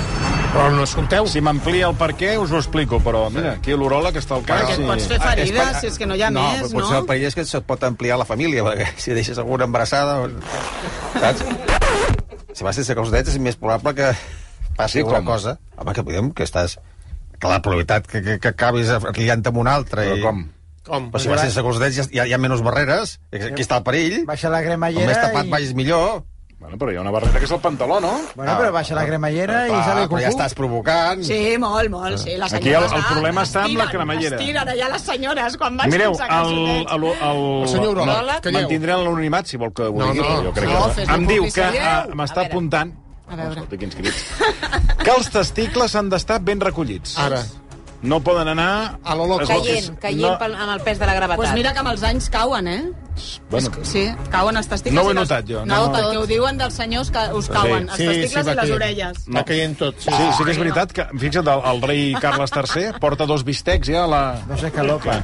Però no escolteu. Si m'amplia el per què, us ho explico, però mira, aquí l'uròleg està al cas. Perquè et pots fer Ah, ferides, és- si és que no hi ha no, però més, potser el no? perill és que se't pot ampliar la família, perquè *laughs* si deixes alguna embarassada... o- Saps? Si vas sense calçotets és més probable que passi Sí, alguna com? cosa. Home, que podem, que estàs... Que la probabilitat que, que, que acabis liant amb un altre... Però i- com? Com? Però si vas sense calçotets hi ha, hi ha, hi ha menys barreres. Aquí està el perill. Baixa la Com cremallera més tapat i... vagis millor. Bueno, però hi ha una barrera que és el pantaló, no? Bueno, però baixa la cremallera i sale Però cucú. ja estàs provocant. Sí, molt, molt, sí. Les Aquí el- senyores, el ah, problema està amb la estiren, cremallera. Estiren allà les senyores quan van Mireu, sense el, calçotets. el, el, El senyor uròleg, no, calleu. Mantindré l'anonimat, si vol que ho No, digui. no. Jo crec No, que... fes-ne Em diu que publicitat. ah, A m'està veure. apuntant... A veure. *laughs* Escolta, quins crits. que els testicles han d'estar ben recollits. Ara. No poden anar... A l'Holocaust. Caient, caient No. pel, amb el pes de la gravetat. Doncs pues mira que amb els anys cauen, eh? Bueno, Sí, cauen els testicles. No ho he i les- notat, jo. No, No, no. perquè ho diuen dels senyors que us cauen, els testicles i les caient. orelles. Va caient tot, sí. sí, sí que és veritat que, fixa't, el, el rei Carles III porta dos bistecs ja a la... No sé què loca.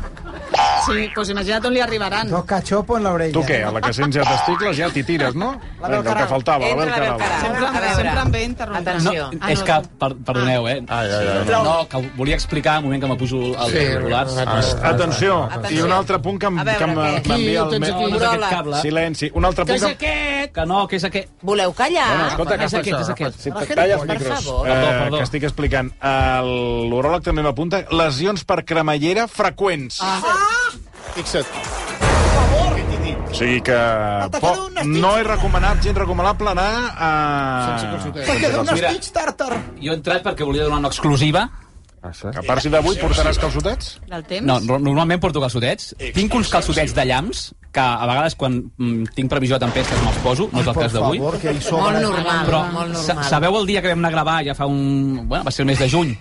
Sí, doncs pues imagina't on li arribaran. Dos cachopos en la orella. Tu què? A la que sents ja testicles ja t'hi tires, no? La Vinga, el que Belcarau. faltava, la Entra la Bel Belcarau. Carau. Sempre, A veure. em- sempre em ve interrompent. Atenció. Ah, és no, que, no. per, perdoneu, Ah. eh? Ai, ai, ai. No, que volia explicar, un moment que m'apujo els Sí, auriculars. ah, Atenció, i Atenció. un altre punt que em- A veure, que em- què? m'envia Qui ho el... tens meu- aquí? No, no és aquest cable. Silenci. Un altre Eh, punt que... aquest? Que no, que és aquest. Voleu callar? Bueno, escolta, És que aquest, passa? és aquest. Sí, Per talla els favor. micros. Perdó, Eh, perdó. Que estic explicant. El- L'uròleg també m'apunta lesions per cremallera freqüents. Fixa't. O sigui que po, no és recomanat, gens recomanable anar a... Sense calçotets. Perquè d'un Mira. estic tàrtar. Jo he entrat perquè volia donar una exclusiva. Que a part si d'avui portaràs calçotets? Del temps? Ah, No, no- normalment porto calçotets. Tinc uns calçotets de llamps, que a vegades quan mm, tinc previsió de tempestes me'ls poso, no és el cas d'avui. que hi Molt normal, Però Ah, molt sa- normal. sabeu el dia que vam anar a gravar, ja fa un... Bueno, va ser el mes de juny,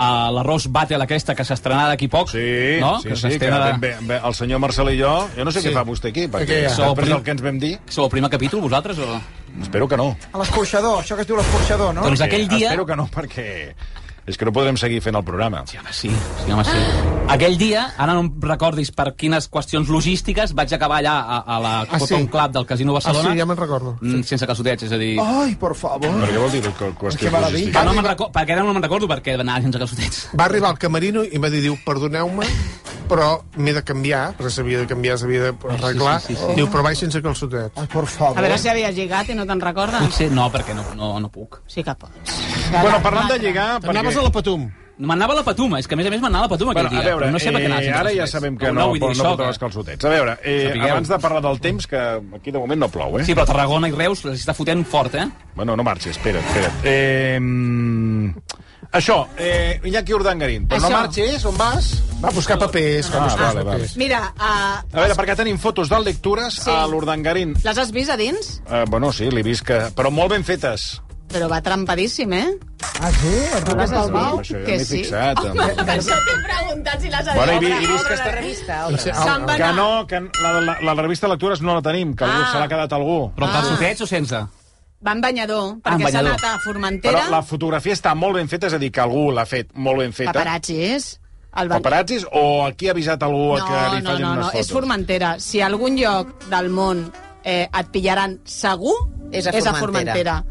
a l'arròs Battle aquesta que s'estrenarà d'aquí poc, Sí, no? sí, sí, que ben, ben, ben, el senyor Marcel i jo... Jo no sé Sí. què fa vostè aquí, perquè Aquí, ja. després Sou del que ens vam dir... Sou el primer capítol, vosaltres? O... Espero que no. A l'escorxador, això que es diu l'escorxador, no? Doncs aquell dia... Espero que no, perquè... És que no podrem seguir fent el programa. Sí, home, sí. sí, home, sí. *gasps* Aquell dia, ara no em recordis per quines qüestions logístiques, vaig acabar allà a, a la Ah, Cotton sí. Club del Casino Ah, Barcelona sí, Oh, ja me'n recordo. mm, sense calçotets, és a dir... Ai, por favor. Però què vol dir que qüestió Què va dir? logística? Que no me'n recordo, perquè ara no me'n recordo perquè va anar sense calçotets. *laughs* Va arribar al camerino i em va dir, diu, perdoneu-me, però m'he de canviar, perquè s'havia de canviar, s'havia d'arreglar. sí, sí, Diu, però vaig sense calçotet. Ai, por favor. A veure si havies lligat i no te'n recordes. Potser no, perquè no, no, no puc. Sí que pots. Bueno, parlant de lligar... Anaves a la Patum. M'anava a la patuma, és que a més a més m'anava a la patuma aquell dia. Bueno, a veure, però no sé per què anava eh, sense ara ja calçotets. sabem que no no, vull no, dir no això, portaràs que- calçotets. A veure, eh, Sapigueu. abans de parlar del temps, que aquí de moment no plou, eh? Sí, però Tarragona i Reus les està fotent fort, eh? Bueno, no marxi, espera't, espera't. Eh, mm, això, eh, Iñaki Urdangarín, però no Això. marxis, on vas? Va buscar papers, va Ah, buscar vale, papers. Mira, uh, A veure, perquè tenim fotos de lectures Sí. a l'Urdangarín. les has vist a dins? Eh, bueno, sí, l'he vist que... Però molt ben fetes. Però va trampadíssim, eh? Ah, sí? El No les Rubén has Dalmau? Això vist? ja Que m'he sí. Ah, fixat, Home, home. per això t'he preguntat si les has Bueno, he, vist. vi- he vist que Obre la està... revista, obre. Se'n va Que anar. no, que la, la, la revista Lectures no la tenim, que algú Ah. se l'ha quedat algú. Però amb Ah. calçotets o sense? Va en banyador, en perquè s'ha banyador. anat a Formentera. Ah, Però la fotografia està molt ben feta, és a dir, que algú l'ha fet molt ben feta. Paparazzis. El ba- Paparazzis o aquí ha avisat algú a que li no, facin no, unes no, fotos? és Formentera. Si a algun lloc del món eh, et pillaran segur, És a Formentera. Formentera.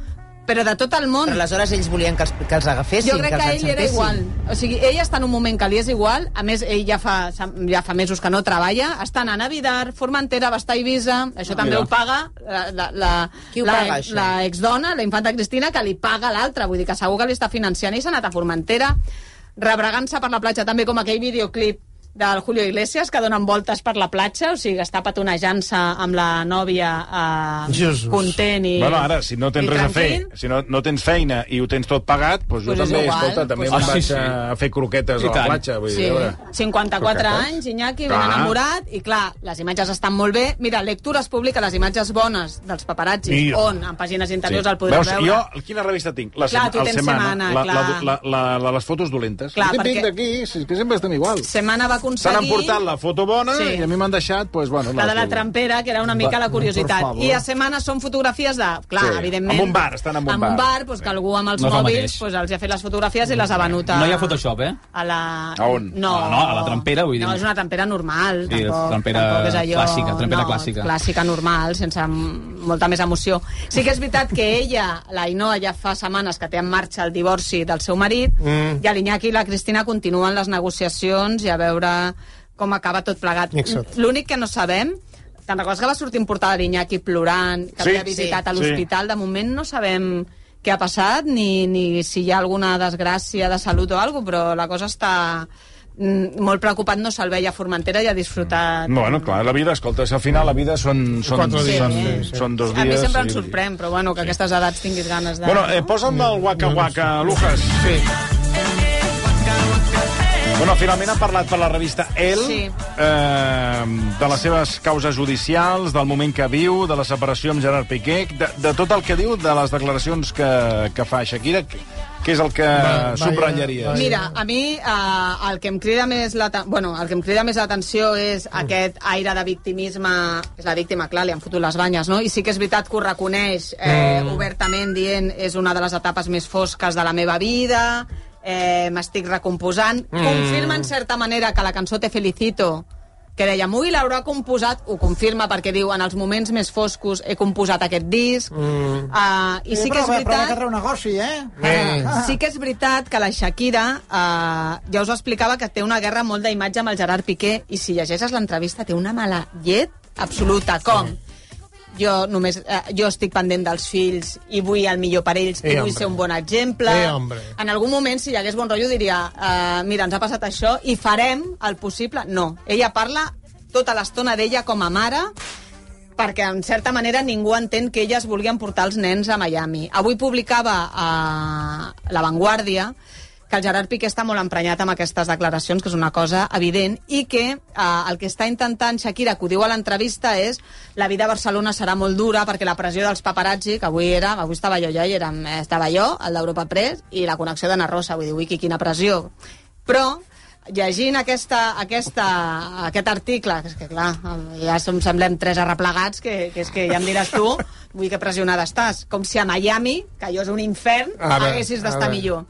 Però de tot el món... Però aleshores ells volien que els, que els agafessin, Jo crec que els a ell li era enxampessin. igual. O sigui, ell està en un moment que li és igual. A més, ell ja fa, ja fa mesos que no treballa. Està anant a Vidar, Formentera, va estar a Eivissa. Això també mira. ho paga la, la, la, Qui ho la, paga, això? la exdona, la infanta Cristina, que li paga l'altra. Vull dir que segur que li està financiant. Ell s'ha anat a Formentera, rebregant-se per la platja, també com aquell videoclip del Julio Iglesias, que donen voltes per la platja, o sigui, que està petonejant-se amb la nòvia eh, Jesus. content i... Bueno, ara, si no tens i res a fer, tranquil. si no, no tens feina i ho tens tot pagat, doncs jo Pues és també, igual, escolta, pues també va. me'n Ah, vaig sí, sí. a fer croquetes I a la tant. platja. Vull Sí, dir, a veure. 54 anys, Iñaki, ben Clar. enamorat, i clar, les imatges estan molt bé. Mira, Lectura es publica les imatges bones dels paparazzis, Mira. on, en pàgines interiors, el podrem Veus, veure. jo, quina revista tinc? La Clar, sema- tu el tens Setmana, la, la, clar. la, la, la, les fotos dolentes. Clar, El típic perquè- d'aquí, si és que sempre estem igual. Setmana va S'han aconseguir... emportat la foto bona Sí. i a mi m'han deixat, doncs, bueno... la de la foto. trampera, que era una mica la curiositat. I a setmana són fotografies de... Clar, Sí, evidentment... amb un bar, estan amb un Amb un bar. bar, doncs, que algú amb els No és el mòbils mateix. doncs, els ha fet les fotografies i les ha venut a... No hi ha Photoshop, eh? A la... A on? No, Ah, no, a la trampera, vull dir. No, és una trampera normal. Sí, tampoc, trampera tampoc és allò... clàssica, trampera no, clàssica. clàssica normal, sense m- molta més emoció. Sí que és veritat que ella, la Ainhoa, ja fa setmanes que té en marxa el divorci del seu marit, mm. i a l'Iñaki i la Cristina continuen les negociacions i a veure com acaba tot plegat. Exacte. L'únic que no sabem, te'n recordes que va sortir un portal de l'Iñaki plorant, que Sí, havia visitat sí. a l'hospital? De moment no sabem què ha passat, ni, ni si hi ha alguna desgràcia de salut o alguna cosa, però la cosa està mm, molt preocupat, no se'l veia a Formentera i ha disfrutat Bueno, clar, la vida, escolta, si al final la vida són, són, Quatre són, dies, són, sí, sí. són dos A dies... mi sempre em sí. sorprèn, però bueno, que a aquestes edats tinguis ganes de... Bueno, eh, posa'm el Waka Waka, Lucas. Sí. Bueno, finalment ha parlat per la revista El Sí. eh, de les seves causes judicials, del moment que viu, de la separació amb Gerard Piqué, de, de tot el que diu, de les declaracions que, que fa Shakira, que, Què és el que Va- subratllaries? Mira, a mi eh, el que em crida més la bueno, el que em crida més l'atenció és aquest aire de victimisme, és la víctima, clar, li han fotut les banyes, no? I sí que és veritat que ho reconeix eh, Mm. obertament dient és una de les etapes més fosques de la meva vida, eh, m'estic recomposant. Mm. Mm. Confirma en certa manera que la cançó Te Felicito que deia, avui l'haurà composat, ho confirma perquè diu, en els moments més foscos he composat aquest disc, mm. uh, i sí, que és però, Però va veritat... quedar un negoci, eh? Ah. Sí que és veritat que la Shakira, eh, ja us ho explicava, que té una guerra molt d'imatge amb el Gerard Piqué i si llegeixes l'entrevista té una mala llet absoluta. Com? Jo només eh, jo estic pendent dels fills i vull el millor per ells i Eh, vull hombre. ser un bon exemple. Eh, hombre. en algun moment, si hi hagués bon rotllo, diria eh, mira, ens ha passat això i farem el possible. No, ella parla tota l'estona d'ella com a mare perquè en certa manera ningú entén que elles volien portar els nens a Miami. Avui publicava a La Vanguardia que el Gerard Piqué està molt emprenyat amb aquestes declaracions, que és una cosa evident, i que eh, el que està intentant Shakira, que ho diu a l'entrevista, és la vida a Barcelona serà molt dura perquè la pressió dels paparazzi, que avui era, avui estava jo ja i érem, eh, estava jo, el d'Europa Press, i la connexió d'Anna Rosa, vull dir, ui, qui- quina pressió. Però llegint aquesta, aquesta, aquest article, que és que clar, ja som, semblem tres arreplegats, que, que és que ja em diràs tu, vull que pressionada estàs, com si a Miami, que allò és un infern, Ara, ara, haguessis ara. d'estar millor.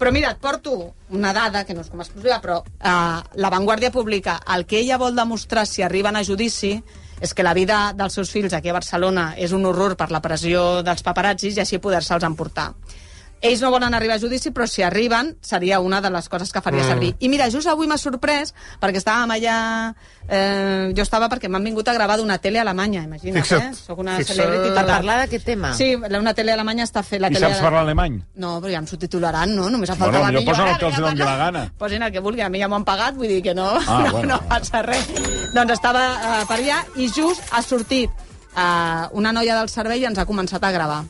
Però mira, et porto una dada, que no és com exclusiva, però uh, La Vanguardia publica el que ella vol demostrar si arriben a judici és que la vida dels seus fills aquí a Barcelona és un horror per la pressió dels paparazzis i així poder-se'ls emportar. Ells no volen arribar a judici, però si arriben seria una de les coses que faria Mm. mm. servir. I mira, just avui m'ha sorprès, perquè estàvem allà... Eh, jo estava perquè m'han vingut a gravar d'una tele alemanya, imagina't, eh? Fixa't. Soc una Fixa't. Ah. celebrity Per total. parlar d'aquest tema? Sí, la- una tele alemanya està fent... La I tele saps ale- parlar alemany? No, però ja em subtitularan, no? Només ha Bueno, faltat millor jo posen el ara, que els ja doni va, la gana. Posin el que vulgui, a mi ja m'ho han pagat, vull dir que *laughs* no, Ah, no, bueno. no passa res. Doncs estava eh, per allà i just ha sortit eh, una noia del servei i ens ha començat a gravar.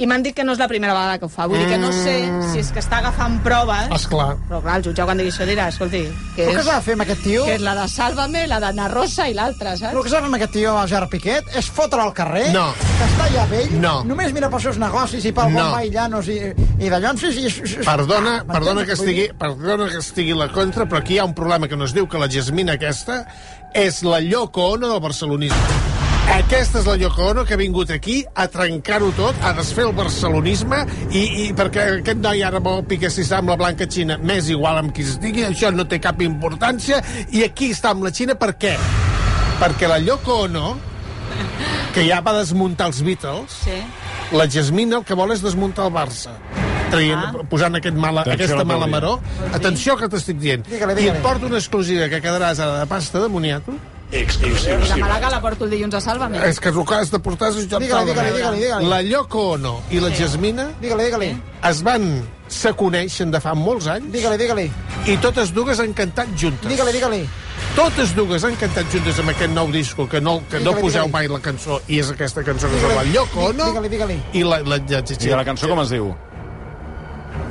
I m'han dit que no és la primera vegada que ho fa. Vull dir que no sé si és que està agafant proves... Esclar. Però clar, el jutge quan digui això dirà, escolti... Però què s'ha de fer amb aquest tio? Que és la de Sálvame, la d'Anna Rosa i l'altra, saps? El que s'ha de fer amb aquest tio, el Gerard Piquet, és fotre al carrer, No. que està allà vell, No. només mira pels seus negocis i pel No. bon Baillanos i, i d'allonsis... I... Perdona, Ah, perdona, m'entens? Vull que estigui, dir- perdona que estigui la contra, però aquí hi ha un problema que no es diu que la Jasmina aquesta és la Yoko Ono del barcelonisme. Aquesta és la Yoko Ono que ha vingut aquí a trencar-ho tot, a desfer el barcelonisme i, i perquè aquest noi ara vol picar si està amb la Blanca Xina. M'és igual amb qui estigui, això no té cap importància. I aquí està amb la Xina per què? Perquè la Yoko Ono, que ja va desmuntar els Beatles, Sí. la Jasmina el que vol és desmuntar el Barça traient, ah. posant aquest mala, Atenció a aquesta la mala teoria. maró. Atenció que t'estic dient. Digue-la, I digue-la. et porto una exclusiva que quedaràs ara de pasta de moniato. I la Exclusiva. Malaga la porto el dilluns a Sálvame. És que el que has de portar és un joc Digue-la, digue-la, de- digue-la, digue-la. La Yoko Ono i la Jasmina Digue-li, digue-li. es van se coneixen de fa molts anys Digue-li, digue-li. i totes dues han cantat juntes. Digue-li, digue-li. Totes dues han cantat juntes amb aquest nou disco que no, que no Digue-li, poseu digue-li. mai la cançó i és aquesta cançó que es Digue-li. diu La Yoko Ono Digue-li, digue-li. i la, la, la, la, I la cançó com es diu?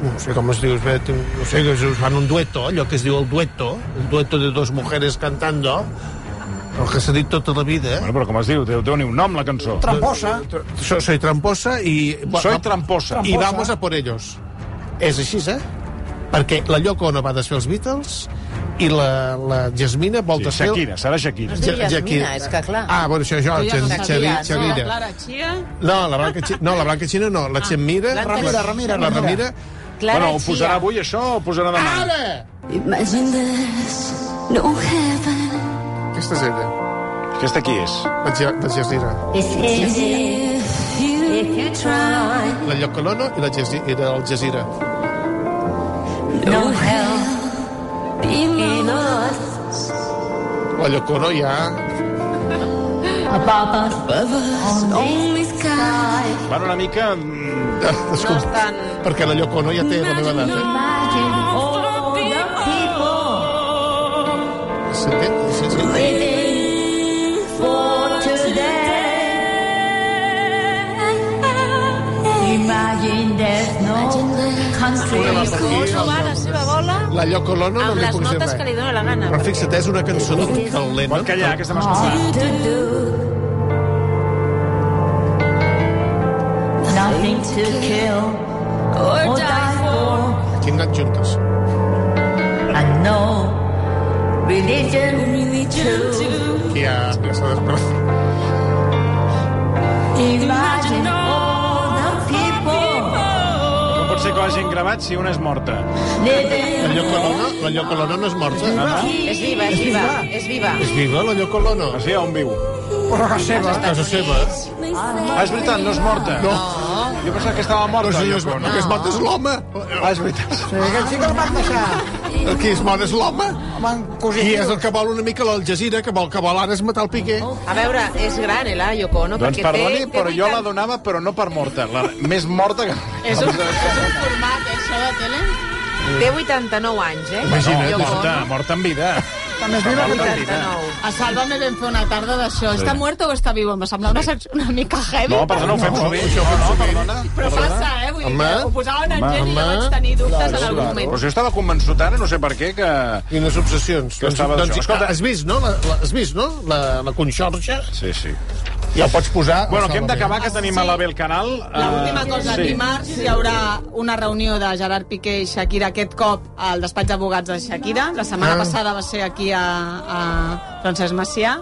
no sé com es diu, espera, tinc- no sé, que es fan un dueto, allò que es diu el dueto, el dueto de dos mujeres cantando, el que s'ha dit tota la vida. Bueno, però com es diu? Déu, déu-n'hi un nom, la cançó. Tramposa. Soy, soy tramposa i... Soy tramposa. I vamos a por ellos. És així, eh? Perquè la Yoko Ono va desfer els Beatles i la, la Jasmina vol Sí, desfer... Shakira, serà Shakira. No es diu Ja- Jasmina, Shakira. és que clar. Ah, bueno, això, això, Tu ja no Xavi- sabies, no? Xavi- Xavi- Clara Chia... No, la Blanca Xina no, la, Blanca Xina no, la Xemira... Blanca la- Xina. Ah. Ramira, La Ramira. Ramira... Clara bueno, ho Chia. posarà avui, això, o ho posarà demà? Ara! Imagine there's no heaven. Aquesta és ella. Aquesta qui és? La, Ja- la Jasmina. It's easy if you, if you try. La Llocolono i la Jezi- i el Jazira. No hell below us. La Llocolono ja... Above us. On only sky. Van una mica... mm, Desculpa, Tant... perquè la Llocolono ja té la meva edat. Eh? Imagine Oh, all the people Sí, sí, sí. living for today. Imagine there's no country. Aquí, la seva bola la Llocolono no li puc dir res. dona la nana. Però fixa't, és una cançó d'un talent. Pot callar, que estem escoltant. to do. Nothing to kill, or die for. Tindran juntes. And no religion, too. Aquí ja s'ha despertat. Imagine all the people Com pot ser que l'hagin gravat si una és morta? living. La Llocolona, la Llocolona no és morta. Ah, És viva, és viva, és viva. És viva, la Llocolona? O sigui, on viu? Però a seva. Casa seva. eh? Ah, és veritat, no és morta. No. Jo pensava que estava morta. No, senyor, és, Yoko Ono. el que és mort és l'home. Ah, és veritat. Sí, que el xic el van deixar. El que és mort és l'home. Van cosir. I és el que vol una mica l'Al Jazeera, que vol que vol ara és matar el Piqué. A veure, és gran, eh, la Yoko Ono, doncs perquè perdoni, té... té però jo la 80. donava, però no per morta. La, més morta que... És un, és un format, eh, això de tele. Té 89 anys, eh? Imagina't, Yoko morta, Ono. morta en vida. També és viva que Morta en el vida. A Sálvame vam fer una tarda d'això. Sí. Està muerto o està vivo? Em sembla una secció una mica heavy. No, perdona, ho fem sovint. això ho No, fem no, sovint. perdona. Però passa, eh? Vull dir, Home. que ho posaven en Home. gent i jo vaig tenir dubtes en algun moment. Però si jo estava convençut ara, no sé per què, que... Quines obsessions. Que estava doncs, d'això. escolta, has vist, no? La, la, has vist, no? La, la conxorxa? Sí, sí. Ja el pots posar. Bueno, que hem Salvament. d'acabar, que tenim a la eh, Belcanal. L'última cosa, sí. dimarts hi haurà una reunió de Gerard Piqué i Shakira, aquest cop al despatx d'advocats de Shakira. La setmana Ah. passada va ser aquí a, a Francesc Macià.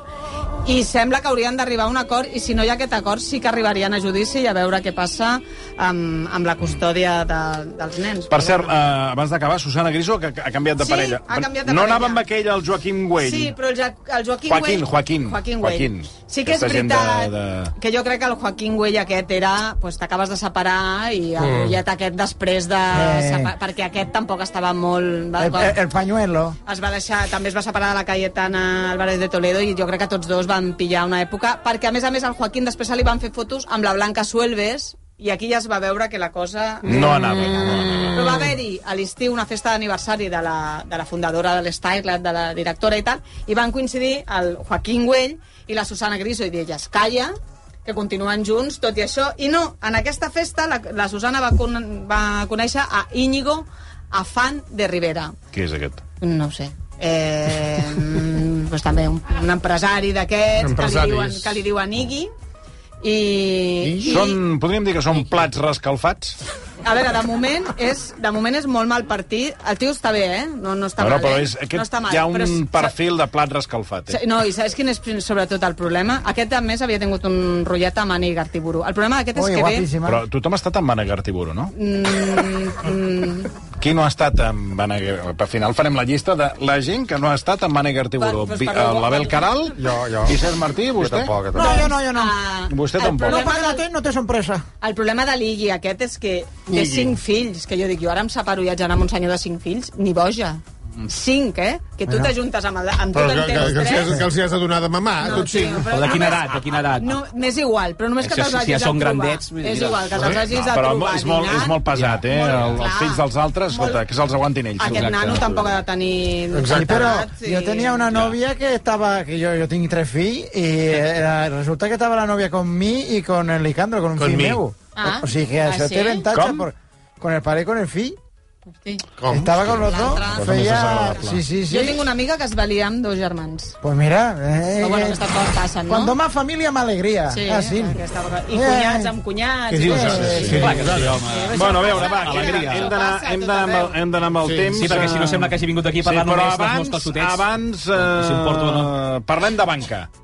I sembla que haurien d'arribar a un acord, i si no hi ha aquest acord sí que arribarien a judici i a veure què passa amb, amb la custòdia de, dels nens. Per cert, eh, abans d'acabar, Susana Griso, que ha canviat de Sí, parella. ha canviat de no parella. anava amb aquell, el Joaquim Güell. Sí, però el, ja el Joaquim Joaquín, Güell... Joaquín, Joaquín Joaquín. Güell. Sí que és Aquesta gent de- veritat de- que jo crec que el Joaquín Güell aquest era... Pues, T'acabes de separar i el Mm. Gullet aquest després de... Eh. separ- Perquè aquest tampoc estava molt... Va, El, el, el pañuelo. es va deixar, també es va separar de la Cayetana Álvarez de Toledo i jo crec que tots dos van pillar una època, perquè a més a més al Joaquín després se li van fer fotos amb la Blanca Suelves i aquí ja es va veure que la cosa... No anava. No Però va haver-hi a l'estiu una festa d'aniversari de, la, de la fundadora de l'Stylet, de la directora i tal, i van coincidir el Joaquín Güell i la Susana Griso, i d'elles calla, que continuen junts, tot i això. I no, en aquesta festa la, la Susana va, con, va conèixer a Íñigo Afán de Rivera. Qui és aquest? No ho sé. Eh, mm, doncs també un, un empresari d'aquests que, li Empresaris. diuen, que li diuen Iggy. I, i, Són, podríem dir que són plats rescalfats? a veure, de moment, és, de moment és molt mal partit. El tio està bé, eh? No, no està no, no, mal. però eh? és, aquest, no està mal. hi ha un però és- perfil de plat rescalfat. Eh? Sí, No, i saps quin és sobretot el problema? Aquest, a més, havia tingut un rotllet amb Ani Gartiburu. El problema d'aquest és que ve... Però tothom ha estat amb Anna Gartiburu, no? Mm, mm, Qui no ha estat amb Anna Gartiburu? Al final farem la llista de la gent que no ha estat amb Anna Gartiburu. Per- per- Vi- per- eh, L'Abel Caral, Jo, jo. Vicent Martí, eh? vostè? tampoc, jo No, jo no, jo no. ah, Vostè tampoc. No, perquè no té, no té sorpresa. El problema de l'Iggy aquest és que té Iggy. cinc fills, que jo dic, jo ara em separo i haig d'anar amb un senyor de cinc fills, ni boja. Mm. Cinc, eh? Que tu Bueno. t'ajuntes amb, el, amb tu Però que, que, t'entens que, els hi has, tres. que els hi has de donar de mamar, No, no, tot sí. tio, però- Però de quina edat, de quina edat? No, m'és igual, però només que Si ja- te'ls si ja hagis de són trobar. grandets, vull dir, és igual, que no, te'ls hagis de però trobar. és molt, és molt pesat, eh? El, els fills dels altres, escolta, que se'ls aguantin ells. Aquest nano tampoc ha de tenir... Sí, però Ah, Sí. jo tenia una nòvia que estava... Que jo, jo tinc tres fills i era, resulta que estava la nòvia con mi i con el Licandro, con un Con fill mi. meu. Ah, o, o sigui que ah, això sí? té avantatge Com? per, con el pare i con el fill. Com? Estava con Pues los dos, L'altre. Cosa més feia... desagradable. Sí, sí, sí. Jo tinc una amiga que es valia amb dos germans. Pues mira... Eh, Però bueno, eh, aquestes coses passen, no? Cuando más familia, más alegría. Sí, ah, sí. aquesta vegada. I cunyats amb cunyats. Què dius, ara? Eh. Sí, clar que sí, home. Bueno, a veure, va, que Alegria. hem d'anar hem d'anar amb, el- hem d'anar amb el Sí, temps. sí, perquè si no eh, sembla que hagi vingut aquí a parlar però només dels abans, meus calçotets. Abans, Si em porto o eh, parlem de banca.